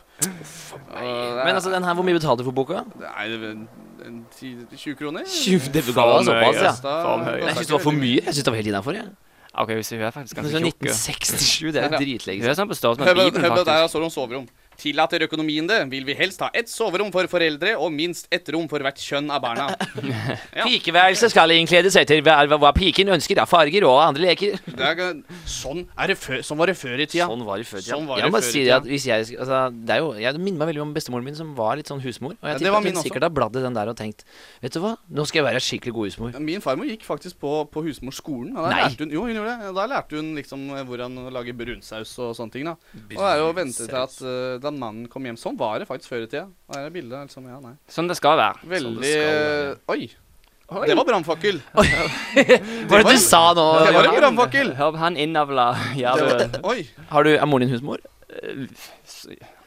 Men altså, den her, hvor mye betalte du for boka? Nei, det er en- en ti- 20 kroner? Tjue- det ga deg såpass, ja. Kosta- Jeg syns det var for mye. Jeg synes det var helt innafor. OK, hvis hun er faktisk ganske Men så tjukk. jo. 1967, det er Ja. dritlenge Hun er sånn på størrelse med Høbbe, Bibelen, høbbe, faktisk. der står det om soverom. Tillater økonomien det, vil vi helst ha ett soverom for foreldre og minst ett rom for hvert kjønn av barna. Pikeværelset skal innkledes etter hva, hva- hva piken ønsker av farger og andre leker. Det er, g- sånn, er det før, sånn var det før i tida. Sånn var det før i tida. Sånn var jeg det må før i bare si det tida. at hvis jeg sk- altså, Det er jo, jeg det minner meg veldig om bestemoren min, som var litt sånn husmor. Og Ja, det jeg tipper var at min hun også. sikkert har bladd i den der og tenkt Vet du hva, nå skal jeg være skikkelig god husmor. Min farmor gikk faktisk på, på husmorskolen. Og da Nei. lærte hun, jo, hun gjorde det. Da lærte hun liksom eh, hvordan å lage brunsaus og sånne ting. da. Og det er jo å vente til at eh, da mannen kom hjem. Sånn var det faktisk før i tida. Og her er bildet, liksom, ja, nei. Sånn det skal være. Veldig Sånn det skal være. eh, Oi. Det var brannfakkel. Hva er det du sa nå? Det var en Han- brannfakkel. Hør, han innavla Det jerven. var- Oi. Har du, er moren din husmor?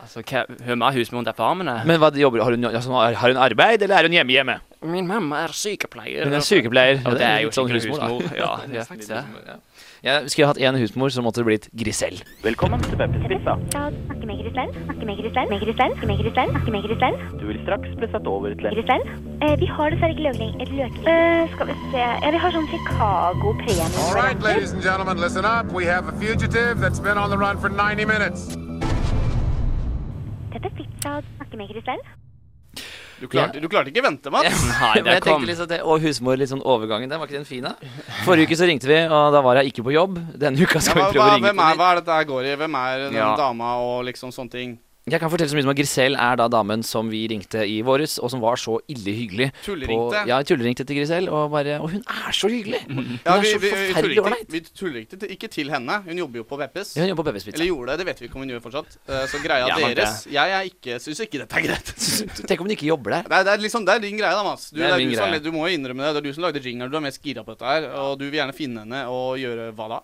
Altså, hva, hun er husmoren til faren min. er. Men hva jobber har hun? Altså, har hun arbeid, eller er hun hjemme hjemme? Min mamma er sykepleier. Hun er sykepleier. Ja, det er jo litt sånn skikkelig husmor. da. Ja, det er faktisk det. Jeg skulle hatt én husmor, så måtte det blitt Grisell. Velkommen til Pepperspissa. Ja, snakke med Grisel, snakke med Grisel, med Grisel, snakke med Grisel, snakke med Grisel. Du vil straks bli satt over Grisel? Eh, vi har dessverre ikke løkning. Et løkning. Eh, skal vi se Ja, vi har sånn Chicago-premie. All right, ladies and gentlemen, listen up. We have a fugitive that's been on the run for 90 minutes. Dette fikk jeg snakke med Grisel. Du klarte, du klarte ikke vente, Mats. Nei, men jeg tenkte liksom det, Og husmor, litt sånn overgangen der, var ikke den fin, da? Forrige uke så ringte vi, og da var jeg ikke på jobb. Denne uka Ja, skal hva, vi hva, prøve å ringe hvem på er, nytt. hva er det der går i? Hvem er den Ja. dama og liksom sånne ting? Jeg kan fortelle så mye som at Grisell er da damen som vi ringte i våres, og som var så ille hyggelig. på- Tulleringte. Ja, tulleringte til Grisell, og bare Og hun er så hyggelig! Mm. Hun Ja, er vi, så vi, vi forferdelig tuller ålreit. ikke, vi tuller ikke, til- ikke til henne. Hun jobber jo på Peppes. Ja, hun jobber på Peppes Pizza. Eller gjorde det, det vet vi ikke om hun gjør fortsatt. Eh, Så greia Ja, men det- deres Jeg er ikke, syns ikke dette er greit. Tenk om hun ikke jobber der. Det er, det er liksom, det er din greie, da, Mats. Du, Det det er er min du, som, greie. du må jo innrømme det. Det er du som lagde jingeren. Du er mest gira på dette her. Og du vil gjerne finne henne og gjøre hva da?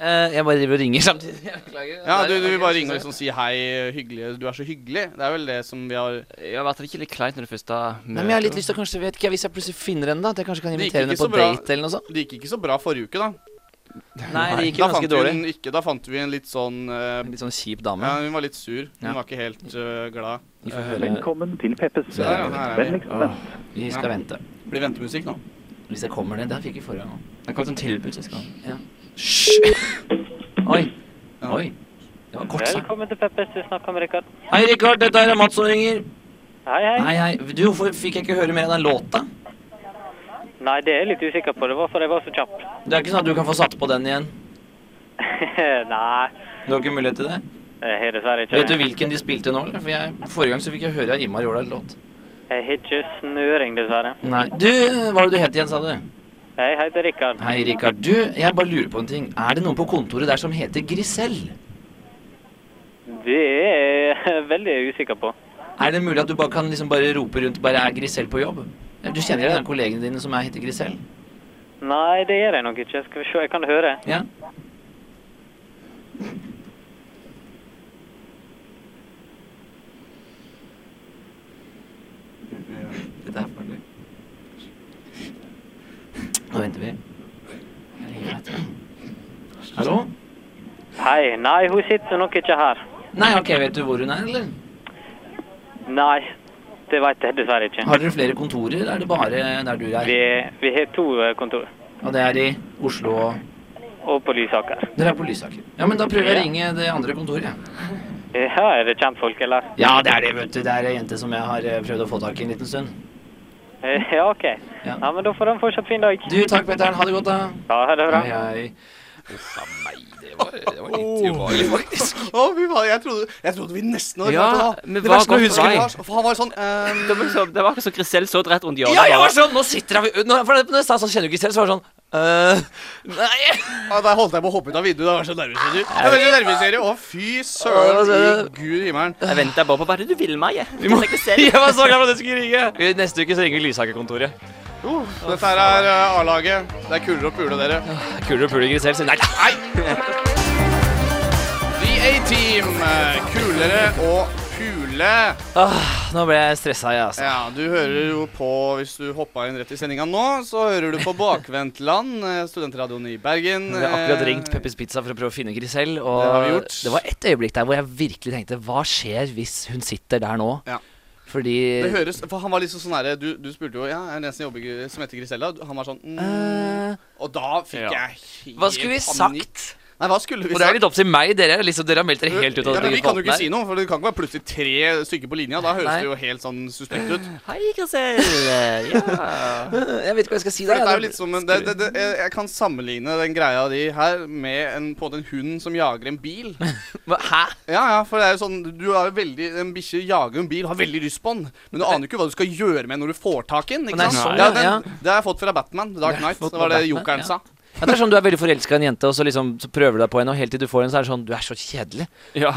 Eh, jeg bare driver og ringer samtidig. Jeg beklager. Ja, du, du vil bare Jeg ringe og liksom synes si hei, hyggelig. Du er så hyggelig. Det er vel det som vi har Ja, Ble det ikke litt kleint når du først da Nei, men jeg har litt lyst til å kanskje, vet ikke jeg, Hvis jeg plutselig finner henne, da at jeg kanskje kan Det gikk invitere henne ikke på så bra. date eller noe sånt? Det gikk ikke så bra forrige uke, da. Nei, det gikk jo da ganske fant vi dårlig. en- Ikke, da fant vi en litt sånn eh, Litt sånn kjip dame. Ja, hun var litt sur. Hun Ja. var ikke helt eh, glad. Vi får høre- Velkommen til Peppes. Der, ja, her er vi. Vennligst vent. Åh, vi skal vente. Blir ventemusikk nå. Hvis jeg kommer ned Der fikk vi forrige gang. Det kom sånn tilbud sist gang. Ja. Hysj! Oi. Oi. Det var kort sagt. Velkommen til Peppers, du snakker med Rikard. Hei, Rikard. Dette er Mats som ringer. Hei, hei. Hei, hei. Du, hvorfor fikk jeg ikke høre mer av den låta? Nei, det er jeg litt usikker på. Det var fordi jeg var så kjapp. Det er ikke sånn at du kan få satt på den igjen? Nei, Du har ikke mulighet til det? jeg har dessverre ikke Vet du hvilken de spilte nå? eller? For jeg, Forrige gang så fikk jeg høre av Imar Jordal låt. Jeg har ikke snøring, dessverre. Nei. Du, hva var det du het igjen, sa du? Jeg heter Rikard. Hei, Rikard. Du, jeg bare lurer på en ting. Er det noen på kontoret der som heter Grisell? Det er jeg veldig usikker på. Er det mulig at du bare kan liksom bare rope rundt bare er Grisel på jobb? Du kjenner jo den kollegene dine som er heter Grisel? Nei, det er det nok ikke. Skal vi se, jeg kan høre. Ja. Dette er farlig. Nå venter vi. Hallo? Hei. Nei, hun sitter nok ikke her. Nei, ok, vet du hvor hun er, eller? Nei, det vet jeg dessverre ikke. Har dere flere kontorer, eller er det bare der du er? Vi, vi har to eh, kontor, Og det er i Oslo og og på Lysaker. Dere er på Lysaker. Ja, men da prøver jeg å ringe det andre kontoret, jeg. Ja, Eh, er det kjentfolk, eller? Ja, det er det, vet du. Det er ei jente som jeg har eh, prøvd å få tak i en liten stund. Eh, Ja, OK. Ja, men da får de fortsatt fin dag. Du, takk, Petteren. Ha det godt, da. Ja, ha det bra. Hei, hei. Uff a meg, det var, det var litt ubehagelig, faktisk. Oh. Å, fy faen, jeg trodde, jeg trodde vi nesten hadde Ja, klart det. men da. Det hva verste går jeg for husker, deg? Lars, for han var sånn ehm, Det var liksom- det var akkurat som Grisel så rett rundt hjørnet. Ja, jeg var sånn! Nå sitter jeg nå, For når jeg sa sånn, kjenner du ikke selv, så var det sånn øh, Nei! Ja, der holdt jeg på å hoppe ut av vinduet. Jeg var så nervøs. vet du. Jeg var så nervøs, Jerry. Å, fy søren i gud i himmelen. Jeg venta bare på hva er det du vil, Maje. Vi må, jeg var så glad for at jeg skulle ringe! Neste uke så ringer vi Lysaker-kontoret. Jo, Dette her er eh, A-laget. Det er kulere å pule dere. Kulere å pule Grisel, sier nei. nei. The A-Team. eh, Kulere å pule. Åh, Ah, nå ble jeg stressa, jeg, altså. Ja, du hører jo på, hvis du hoppa inn rett i sendinga nå, så hører du på Bakvendtland, eh, studentradioen i Bergen. Vi har akkurat eh, ringt Peppers Pizza for å prøve å finne Grisel. Og Det har vi gjort. det var et øyeblikk der hvor jeg virkelig tenkte Hva skjer hvis hun sitter der nå? Ja. Fordi Det høres, for han var liksom sånn herre du, du spurte jo ja, er det en som jobber i- som heter Grisella. Du- Han var sånn mm, Og da fikk Eh, ja. jeg helt Hva skulle vi panikk. Nei, hva skulle vi Og det er sagt? litt opp til meg, dere. er Liksom, dere har meldt dere helt ut av Ja, men vi kan jo spalten her. ikke si noe, for det kan ikke være plutselig tre stykker på linja. Da høres Nei. det jo helt sånn suspekt ut. Hei, Grisel. Ja. Jeg vet ikke hva jeg skal si For der, dette er jo jeg- litt sånn- som en, det, det, det, jeg, jeg kan sammenligne den greia di her med en, på en måte en hund som jager en bil. Hæ? Ja, ja, for det er jo sånn Du har jo veldig En bikkje jager en bil, har veldig lyst på den, men du aner jo ikke hva du skal gjøre med den når du får tak i den. Nei, Ikke sant? sånn, Det, ja, er den, ja. det har jeg fått fra Batman. The Det har Dark jeg Knight. fått Det var fra det Batman, jokeren ja. sa. Ja, det er sånn Du er veldig forelska i en jente, og så liksom så prøver du deg på henne, og helt til du får henne, så er det sånn Du er så kjedelig.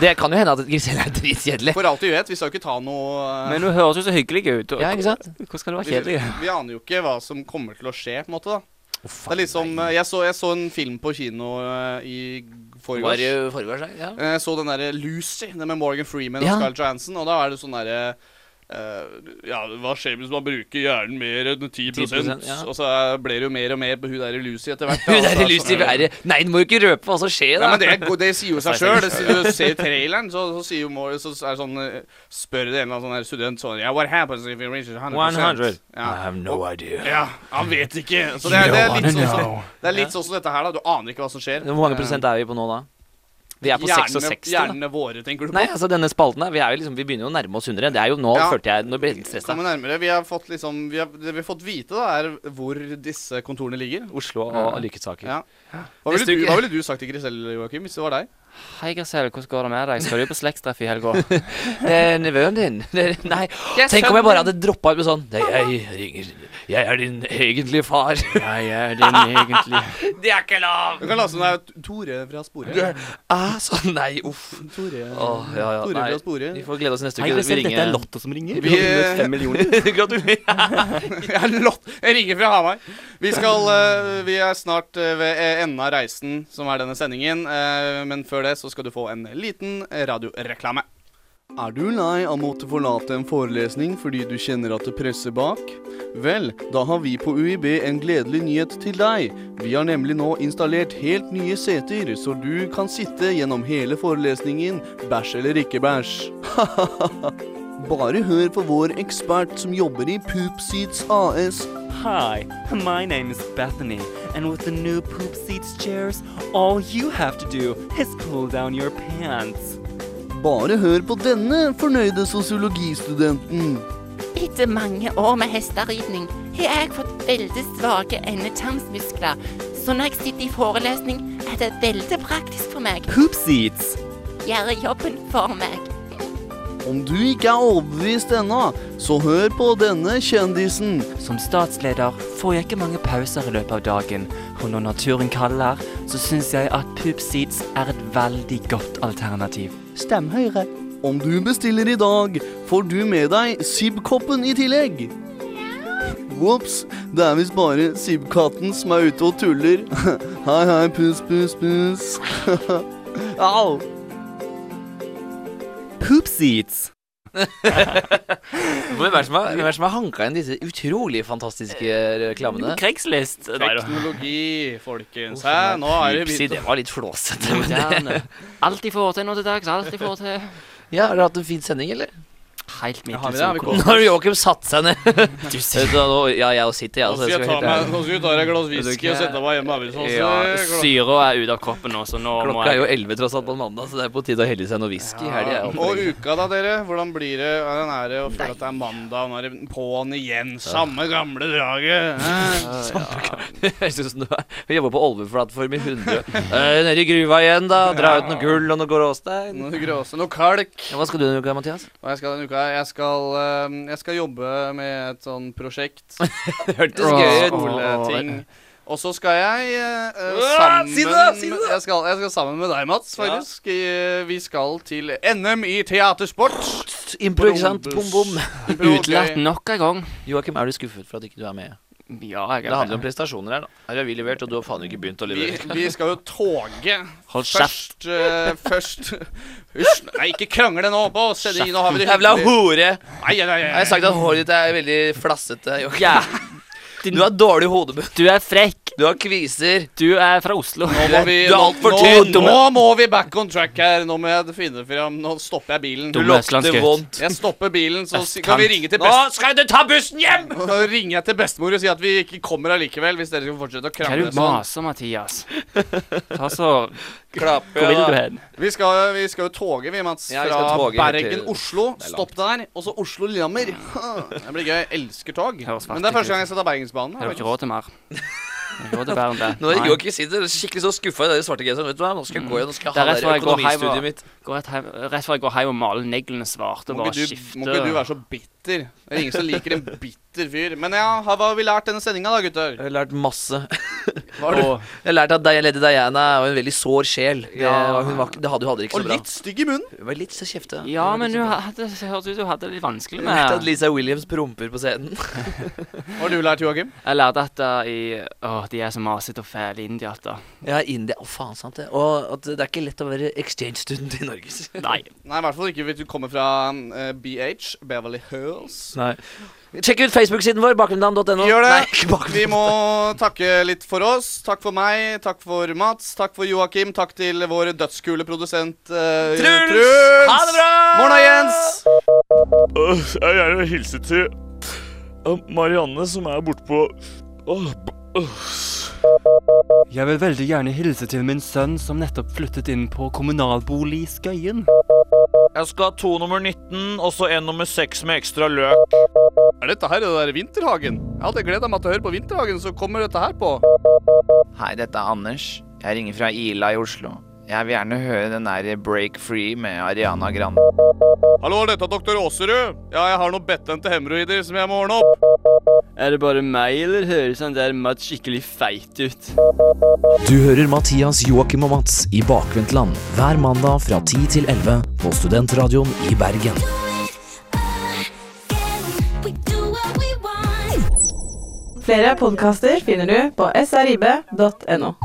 Det kan jo hende at Grisel er dritkjedelig. For alt vi vet, vi skal jo ikke ta noe eh, Men hun høres jo så hyggelig ut. og- Ja, ikke sant? Hvordan skal det være vi, kjedelig? vi aner jo ikke hva som kommer til å skje, på en måte. da Det er liksom eh, Jeg så, jeg så en film på kino eh, i forgårs. Var det forgårs, ja? Eh, Jeg så den derre Lucy, den med Morgan Freeman Ja. og Scarlett Johansson, og da er det sånn derre eh, ja, Hva skjer hvis man bruker hjernen mer enn 10, 10%, ja. Og så ble det jo mer og mer på hun derre Lucy etter hvert. da, og så Hun der er i det lyset i sånn der- været. Nei, du må jo ikke røpe hva som skjer, da. Nei, men det, er go- det sier jo seg sjøl. Du ser traileren, så, så sier jo Mor- så er det sånn eh, Spør det en eller annen sånn her student sånn yeah, What happens if you reach 100? 100. Ja. I have no idea. Ja, han vet ikke. Så det er, det er You don't litt sånn wanna som know. det er litt sånn som dette her, da. Du aner ikke hva som skjer. Hvor mange prosent er vi på nå, da? Vi er på Hjernene- 66. da. Hjernene våre, tenker du på? Nei, altså denne spalten her, vi, er jo liksom, vi begynner jo å nærme oss 100. Det er jo nå Ja. følte jeg Nå ble jeg litt stressa. Kommer nærmere. Vi har fått liksom vi har, Det vi har fått vite, da, er hvor disse kontorene ligger. Oslo og Lykketsaker. Ja. Hva, ville Neste du, uke. hva ville du sagt til Grisel, Joakim, hvis det var deg? Hei, Grisel. Hvordan går det med deg? Skal du på slektstreff i helga? Eh, Nevøen din det- Nei. Jeg Tenk om jeg skjønner. bare hadde droppa ut med sånn Nei, jeg ringer Jeg er din egentlige far. Jeg er din egentlige- Det er ikke lov! Du kan late som det er Tore fra Spore. Du- Ah, sånn, nei, uff. Tore, Åh, ja, ja, Tore nei. fra Spore. Vi får glede oss neste uke. Hei, Vi Grisel, dette ringer- er Lotte som ringer. Vi- Vi har vunnet fem millioner. Jeg er lott. Jeg ringer fra Hamar. Vi, skal, eh, vi er snart eh, ved eh, enden av reisen, som er denne sendingen. eh, men før det så skal du få en liten radioreklame. Er du lei av å måtte forlate en forelesning fordi du kjenner at det presser bak? Vel, da har vi på UiB en gledelig nyhet til deg. Vi har nemlig nå installert helt nye seter, så du kan sitte gjennom hele forelesningen, bæsj eller ikke bæsj. Bare hør på vår ekspert som jobber i Poopseats AS. Hi, my name is Bethany, and with the new Poop Seats chairs, all you have to do is pull down your pants. Bare hør på denne fornøyde sosiologistudenten. Etter mange år med hesteridning har jeg fått veldig svake endetarmsmuskler, så når jeg sitter i forelesning, er det veldig praktisk for meg. Poop Seats! Gjøre jobben for meg. Om du ikke er overbevist ennå, så hør på denne kjendisen. Som statsleder får jeg ikke mange pauser i løpet av dagen, og når naturen kaller, så syns jeg at Poop Seats er et veldig godt alternativ. Stem Høyre. Om du bestiller i dag, får du med deg Sib-koppen i tillegg. Ops, det er visst bare Sib-katten som er ute og tuller. Hei, hei, puss, puss, puss. Au! Poop seats. Hvem er det som har, hvem er det som har hanka inn disse utrolig fantastiske reklamene? Craigslist. Nei da. Teknologi, folkens. Hvorfor Hæ, er nå er det Pepsi, det var litt flåsete, men Moderne. det Alt de får til nå til dags, alt de får til. Ja, Har du hatt en fin sending, eller? Helt Nå middels. har Joakim satt seg ned. Du sier Ja, jeg sitter, jeg. Nå skal jeg ta meg- nå skal jeg ta deg et glass whisky og sette meg hjemme. Abel, sånn, så- Ja, Syra er ute av kroppen nå, så nå må Klokka er jeg jo elleve tross alt på en mandag, så det er på tide å helle i seg noe whisky. Ja. Ja. Helg, Og uka, da, dere? Hvordan blir det? Ja, den er det å føle at det er mandag, nå er det på'n igjen. Samme gamle draget. Hæ? Jeg synes du er Vi jobber på Olveplattform i 100. Eh, Nede i gruva igjen, da. Dra ut noe gull og noe gråstein. Noe gråse, noe kalk. Ja, hva skal du denne uka, Mathias? Hva jeg skal denne uka? Jeg skal, eh, jeg skal jobbe med et sånn prosjekt. Hørtes gøy ut. Skoleting. Og så skal jeg eh, eh, Ah, sammen si det, si det! Jeg, skal, jeg skal sammen med deg, Mats, faktisk. I- Vi skal til NM i teatersport. Impro, ikke sant? Bom, bom. Impro, ok. en gang. Joakim, er du skuffet for at ikke du er med? Ja, jeg er Det handler om prestasjoner her, da. Her har vi levert, og du har faen ikke begynt å Vi, levere. vi skal jo toge. Hold først eh, Først Hysj! Nei, ikke krangle nå! På Seddi, nå har vi det Jævla hore! Nei, nei, nei, Jeg har sagt at håret ditt er veldig flassete. Joakim. Du har dårlig hodebunn. Du er frekk. Du har kviser. Du er fra Oslo. Nå må vi, du er nå- altfor nå- tynn. Nå må vi back on track her. Nå må jeg finne fram Nå stopper jeg bilen. Dumme østlandsgutt. Jeg stopper bilen, så si- kan Østkant. vi ringe til Nå skal du ta bussen hjem! Nå ringer jeg til bestemor og sier at vi ikke kommer allikevel, hvis dere skal fortsette å Hva er krangle sånn. det du maser, Mathias? Ta så Klappe, Hvor vil da. du hen? Vi skal, vi skal jo toge, vi, Mats. Ja, vi skal fra toge Bergen, til- Oslo. Det er langt. Stopp der. Og så Oslo-Lillehammer. Det blir gøy. Jeg elsker tog. Høres Men det er fattig første gang jeg ut. skal ta Bergensbanen. Jeg har ikke faktisk. råd til mer. Jeg har ikke råd til verre enn det. Nå er Nei. Mm. Joakim sitter skikkelig så skuffa i den svarte genseren. Vet du hva, nå skal jeg gå igjen. Nå skal Det er jeg ha rett det der før jeg går hjem økonomistudiet og- mitt. går rett hjem- rett før jeg går hjem og maler neglene svarte og Må bare ikke, du, skifter. må ikke du være så bitter. Det er ingen som liker en bitter fyr. Men ja, hva har vi lært denne sendinga, da, gutter? Jeg har lært masse. har du? Jeg har lært at Di- Lady Diana var en veldig sår sjel. Det, Ja. var- hun var, ikke- det hadde hun hadde ikke så Og bra. litt stygg i munnen. Hun var litt så kjefte. Ja, men du hadde, hørte ut du hadde det litt vanskelig Jeg med lærte at Lisa Williams promper på scenen. Hva har du lært, Joakim? Jeg lærte at uh, i, åh, de er så masete og fæle indiater. Ja, India. Å, faen sant det. Og at det er ikke lett å være exchange-student i Norge. Nei. Nei, i hvert fall ikke hvis du kommer fra eh, BH, Beverly Hills. Nei. Sjekk ut Facebook-siden vår, bakgrunnland.no. Gjør Nei, det. ikke bakgrunn. Vi må takke litt for oss. Takk for meg, takk for Mats, takk for Joakim. Takk til vår dødskule produsent eh, Truls! Truls! Ha det bra! Morna, Jens! Øh, Jeg gjerne vil hilse til eh, øh, Marianne, som er borte på Åh, b- øh. Jeg vil veldig gjerne hilse til min sønn som nettopp flyttet inn på kommunalbolig i Skøyen. Jeg skal ha to nummer 19 og så en nummer 6 med ekstra løk. Er dette her det der Vinterhagen? Jeg hadde gleda meg til å høre på Vinterhagen, så kommer dette her på. Hei, dette er Anders. Jeg ringer fra Ila i Oslo. Jeg vil gjerne høre den der Break Free med Ariana Grande. Hallo, er dette doktor Åserud? Ja, jeg har noen betente hemoroider som jeg må ordne opp. Er det bare meg, eller høres han der Matt skikkelig feit ut? Du hører Mathias, Joakim og Mats i Bakvendtland hver mandag fra 10 til 11 på Studentradioen i Bergen. Flere podkaster finner du på srib.no.